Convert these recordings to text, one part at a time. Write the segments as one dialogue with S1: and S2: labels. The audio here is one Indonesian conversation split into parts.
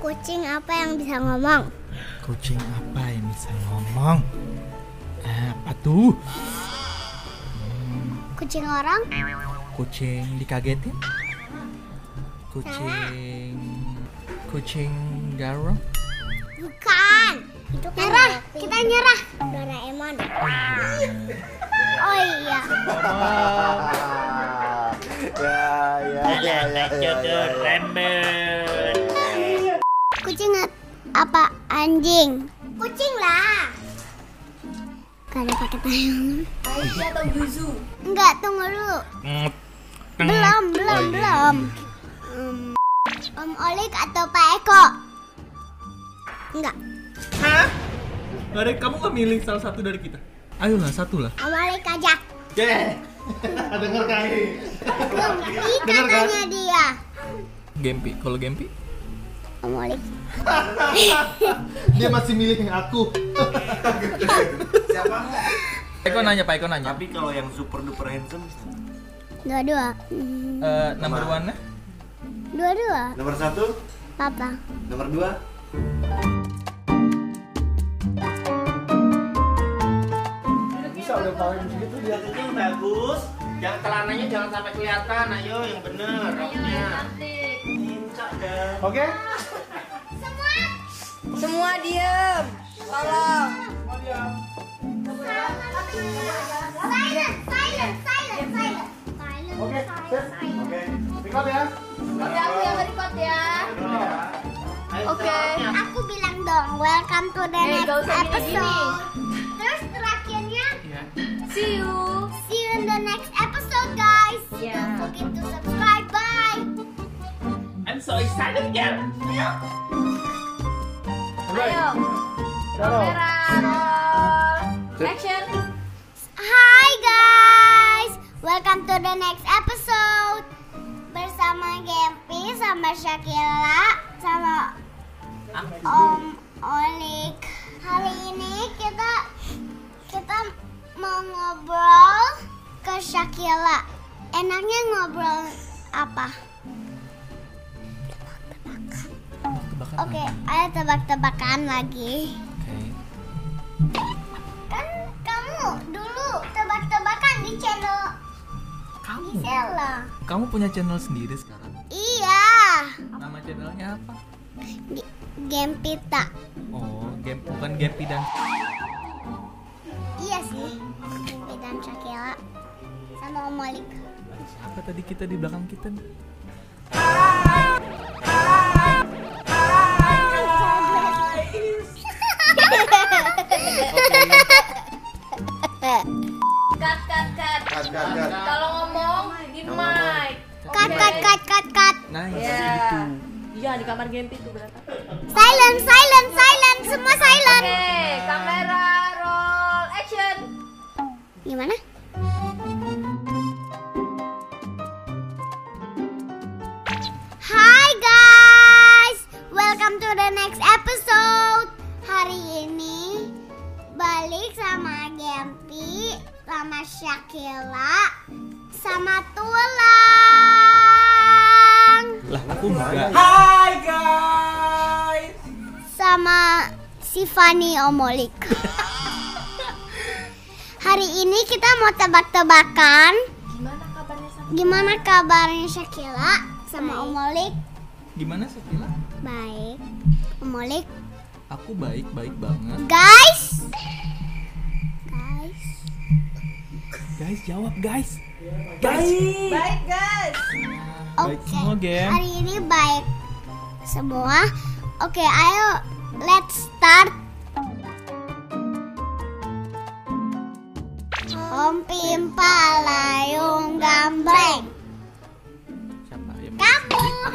S1: Kucing apa yang bisa ngomong?
S2: Kucing apa yang bisa ngomong? Eh, Apa tuh?
S1: Kucing orang?
S2: Kucing dikagetin? Kucing... Kucing garong?
S1: Bukan. Itu kan nyerah. Kita nyerah. Doraemon. Oh iya.
S3: ya ya ya ya ya, ya, ya.
S1: Kucing at- apa? Anjing. Kucing lah. Gak ada pakai tayang.
S4: atau Yuzu?
S1: Enggak, tunggu dulu. Belum, belum, belum. Hmm, Om Olik atau Pak Eko? Enggak.
S5: Hah? Gak ada, kamu gak milih salah satu dari kita?
S2: Ayolah, satu lah.
S1: Om Olik aja.
S5: Yeah. Dengar kan?
S1: Belum, ini
S5: Dengar kan?
S1: katanya dia.
S2: Gempi, kalau Gempi?
S1: Om Olik.
S5: Dia masih milih aku.
S2: Eko nanya, Pak Eko nanya.
S3: Tapi kalau yang super duper handsome
S1: Dua-dua. Hmm,
S2: Eh, number
S5: Nah.
S2: one-nya?
S1: Dua-dua.
S3: Nomor satu,
S1: Papa.
S3: nomor dua
S5: Bisa udah paling begitu dia.
S3: Yang bagus, yang telananya jangan sampai kelihatan Ayo yang bener roknya Minta dah
S5: Oke?
S4: Semua diam. Tolong.
S1: Silent, silent, silent, silent. Silent,
S5: Oke,
S1: silent, silent.
S3: Oke,
S5: Pick up ya.
S4: Oke, aku yang record ya.
S3: Ayo,
S4: Oke.
S3: setelahnya.
S1: Aku bilang dong, welcome to the
S4: Eh,
S1: next
S4: gak usah gini-gini.
S1: episode. Terus terakhirnya,
S4: See you.
S1: see you in the next episode guys.
S4: Yeah.
S1: Don't forget to subscribe. Bye.
S5: I'm so excited girl.
S4: Ayo. Kamera roll. Action.
S1: Hi guys, welcome to the next episode bersama Gempi, sama Shakila, sama Om Olik. Hari ini kita kita mau ngobrol ke Shakila. Enaknya ngobrol apa?
S2: Tebakan
S1: Oke, ayo tebak-tebakan lagi.
S2: Oke.
S1: Kan kamu dulu tebak-tebakan di channel
S2: Kamu?
S1: Gisela.
S2: Kamu punya channel sendiri sekarang?
S1: Iya.
S2: Nama channelnya apa?
S1: G- game pita
S2: Oh, game bukan Gempi dan
S1: iya sih Gempi dan Shakila sama Om Malik
S2: siapa tadi kita di belakang kita nih?
S4: Cut, cut, cut.
S3: Cut, cut, cut.
S4: Kalau ngomong di mic.
S1: cut cut cut cut cut
S2: Nice, gitu.
S4: Ya. Iya, di kamar game itu berantakan.
S1: silent silent silent semua silent
S4: Oke, kamera roll. Action.
S1: gimana Hai guys, welcome to the next episode. Hari ini balik sama Gempi, sama Shakila, sama Tulang,
S2: Lah, aku enggak.
S1: sama si Fanny Omolik. Hari ini kita mau tebak-tebakan
S4: Gimana kabarnya sama?
S1: gimana kabarnya Shakila sama Omolik.
S2: Gimana sih Pila?
S1: Baik, Omolik
S2: Aku baik-baik banget.
S1: Guys. Guys.
S2: Guys, jawab guys. Guys.
S4: Baik, guys.
S1: Oke.
S2: Baik semua, Gem.
S1: Hari ini baik semua. Oke, ayo let's start. Om Pimpa Layung Gambreng
S2: Siapa yang
S1: Kamu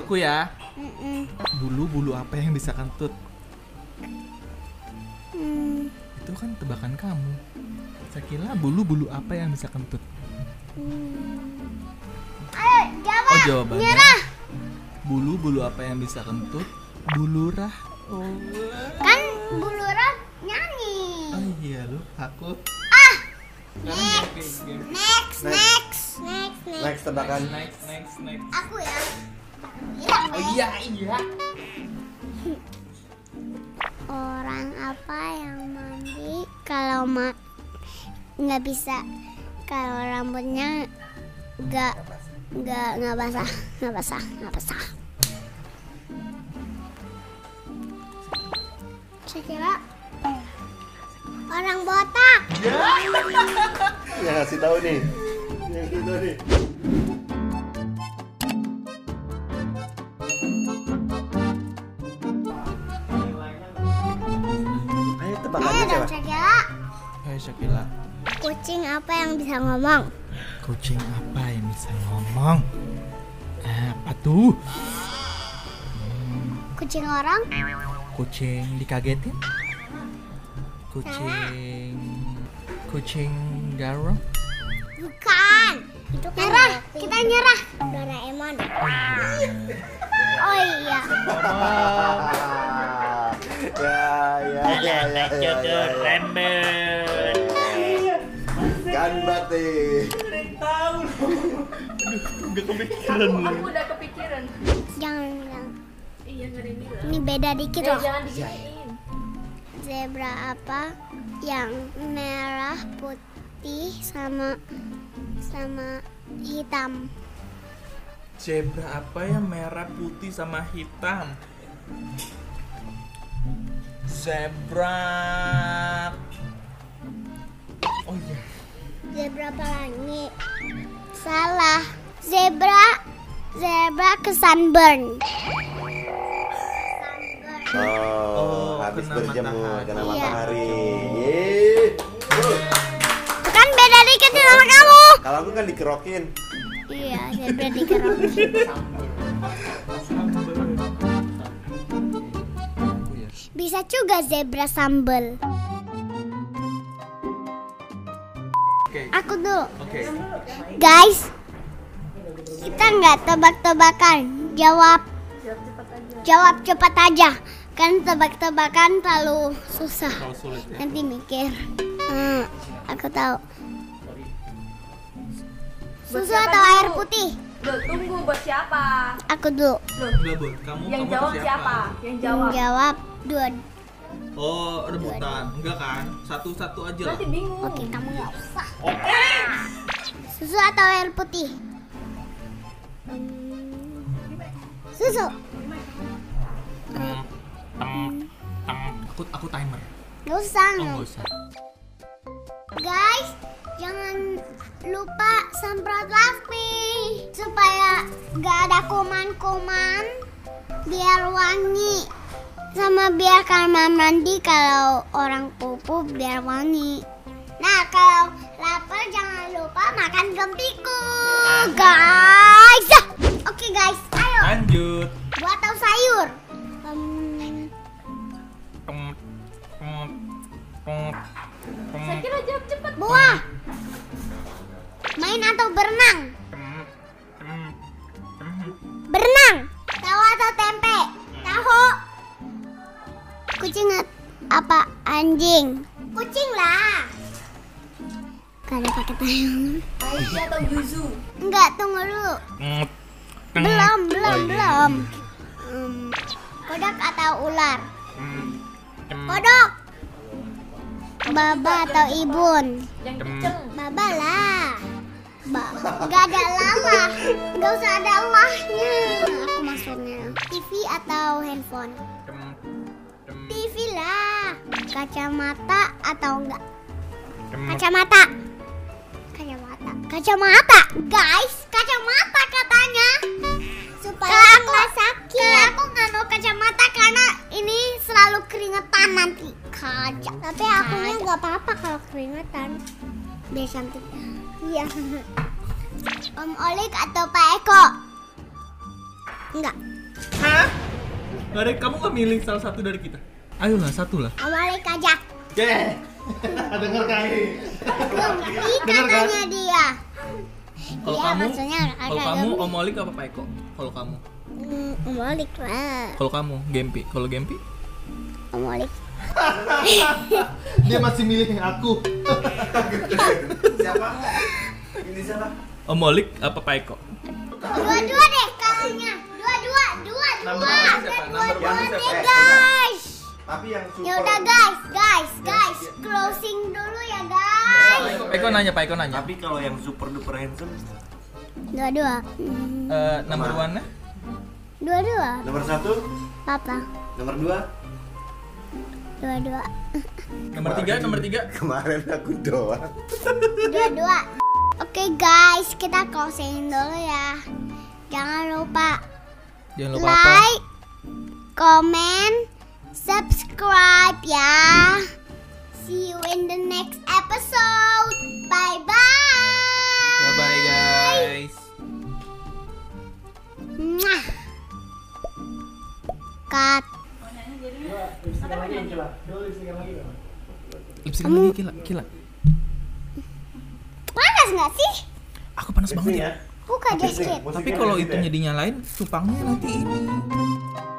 S2: Aku ya.
S1: Mm-mm.
S2: Bulu-bulu apa yang bisa kentut?
S1: Hmm,
S2: Itu kan tebakan kamu. Sakila, bulu-bulu apa yang bisa kentut?
S1: Ayo jawab
S2: Oh, jawabannya.
S1: Nyerah
S2: Bulu-bulu apa yang bisa kentut? Bulurah. Oh.
S1: Kan Bulura nyanyi
S2: Oh iya lu, aku.
S1: Next Next Next Next
S3: Next tebakan
S2: Next, next, next.
S1: Aku ya Hilang
S3: Oh
S1: deh.
S3: iya iya.
S1: Orang apa yang mandi kalau ma nggak bisa kalau rambutnya nggak nggak nggak basah nggak basah nggak basah. Saya kira ya, orang botak.
S3: Ya ngasih tahu nih. Ya ngasih tahu nih. Ayo tebak
S1: Eh,
S3: aja
S1: dong
S3: coba.
S1: saya kira
S2: Hai Shakila.
S1: kucing apa yang bisa ngomong?
S2: Kucing apa yang bisa ngomong? Apa tuh?
S1: Kucing orang?
S2: Kucing dikagetin? Kucing... Kucing garong?
S1: Bukan. Itu kan nyerah. Kita nyerah. Doraemon. Oh iya.
S3: Ya ya ya ya ya. ya, ya. Kan mati.
S4: Aku udah kepikiran.
S1: Jangan bilang.
S4: Iya nggak ada yang bilang.
S1: Ini beda dikit
S4: Eh
S1: loh.
S4: jangan diginiin.
S1: Zebra apa yang merah, putih sama sama hitam?
S5: Zebra apa ya merah putih sama hitam? Zebra. Oh iya.
S1: Zebra pelangi. Salah. Zebra zebra ke sunburn.
S3: Oh, habis
S5: kena
S3: berjemur
S5: matahari.
S3: kena
S1: Iya.
S3: matahari. Oh. Yeay. Bro,
S1: Kan beda dikit sama kamu.
S3: Kalau aku kan dikerokin.
S1: Iya, zebra dikerokin. Bisa juga zebra sambel.
S5: Oke.
S1: Aku dulu.
S5: Oke.
S1: Guys, kita nggak tebak-tebakan. Jawab. Jawab cepat aja. Kan tebak-tebakan terlalu susah.
S5: Kalau sulit ya.
S1: Nanti mikir. Hmm, aku tahu. Susu atau air putih?
S4: Loh tunggu buat siapa?
S1: Aku dulu.
S4: Loh
S5: Enggak, Bun. Kamu
S4: yang
S5: kamu
S4: jawab
S5: siapa?
S4: siapa? Yang jawab.
S1: Jawab dua.
S5: Oh, rebutan. Enggak kan? Satu-satu aja lah.
S4: Nanti bingung.
S1: Oke, kamu nggak usah. Susu atau air putih? Hmm, Susu.
S5: Tem, tem, tem. Hmm, Aku aku timer.
S1: Nggak usah.
S5: Oh,
S1: nggak
S5: enggak usah.
S1: Guys, jangan lupa semprot lasmi supaya nggak ada kuman-kuman, biar wangi. Sama biar kamar mandi kalau orang pupu biar wangi. Nah, kalau lapar jangan lupa makan gempiku, guys. Oke guys, ayo
S5: Lanjut.
S1: buat tahu sayur. Hmm,
S5: Tem, tem, tem, tem,
S4: Saya kira jawab cepet.
S1: buah. Main atau berenang?
S5: tem, tem, tem.
S1: Berenang. Tahu atau tempe? Tahu. Kucing at- apa anjing? Kucing lah. Kalau pakai tayang.
S4: Aisy atau Yuzu?
S1: Enggak, tunggu dulu.
S5: Teng, teng.
S1: Belum, belum,
S5: Oh, iya.
S1: belum. Hmm, kodok atau ular?
S5: Tem, tem,
S1: Kodok. Baba atau ibun?
S4: Yang
S5: Tem.
S4: kenceng.
S1: Baba lah. Ba gak ada lama. Gak usah ada lahnya. Aku maksudnya. TV atau handphone?
S5: tem, tem,
S1: TV lah. Kacamata atau enggak?
S5: tem.
S1: Kacamata. Kacamata. Kacamata. Guys, kacamata katanya. Supaya aku nggak sakit. aku nggak mau kacamata karena ini selalu keringetan nanti. Kaca. Tapi aku nggak apa-apa kalau keringetan. Biar cantik. Iya. Om Olik atau Pak Eko? Enggak.
S5: Hah? Gak ada kamu gak milih salah satu dari kita? Ayolah, satu lah.
S1: Om Olik aja.
S3: Ye. Dengar kali.
S1: Ini
S5: Bener kan?
S1: katanya dia.
S5: Kalau
S1: Iya,
S5: kamu,
S1: maksudnya ada
S5: kalau kamu
S1: Gempi.
S5: Om Olik apa Pak Eko? Kalau kamu,
S1: Mm, Om Olik lah.
S5: kalau kamu Gempi, kalau Gempi?
S1: Om Olik.
S3: Dia masih milih aku. siapa? Ini siapa?
S5: Om Olik apa Pak Eko?
S1: Dua-dua deh kalanya. Dua-dua.
S5: Number
S1: dua,
S5: one siapa?
S1: dan dua
S5: Number one
S1: duanya
S5: siapa? Eh,
S1: guys.
S3: Tapi yang super.
S1: Ya udah guys, guys, guys, closing dulu ya guys.
S2: Pak Eko nanya, Pak Eko nanya.
S3: Tapi kalau yang super duper handsome
S1: Dua dua, Mm,
S2: Eh, number one-nya?
S1: dua dua,
S3: nomor satu,
S1: papa,
S3: nomor dua.
S1: dua dua,
S2: Nomor tiga, nomor tiga.
S3: Kemarin aku doang.
S1: dua dua. Oke guys, kita closing dulu ya. Jangan lupa
S2: Jangan lupa apa?
S1: like, comment, subscribe ya. See you in the next episode. Bye bye.
S2: Bye bye guys.
S1: Mwah. Cut.
S2: Lipstick lagi gila, gila.
S1: Panas nggak sih?
S2: Aku panas banget ya.
S3: Iya
S1: Buka deh sedikit.
S3: gitu ya.
S2: Tapi kalau itu jadi nyalain, cupangnya nanti ini.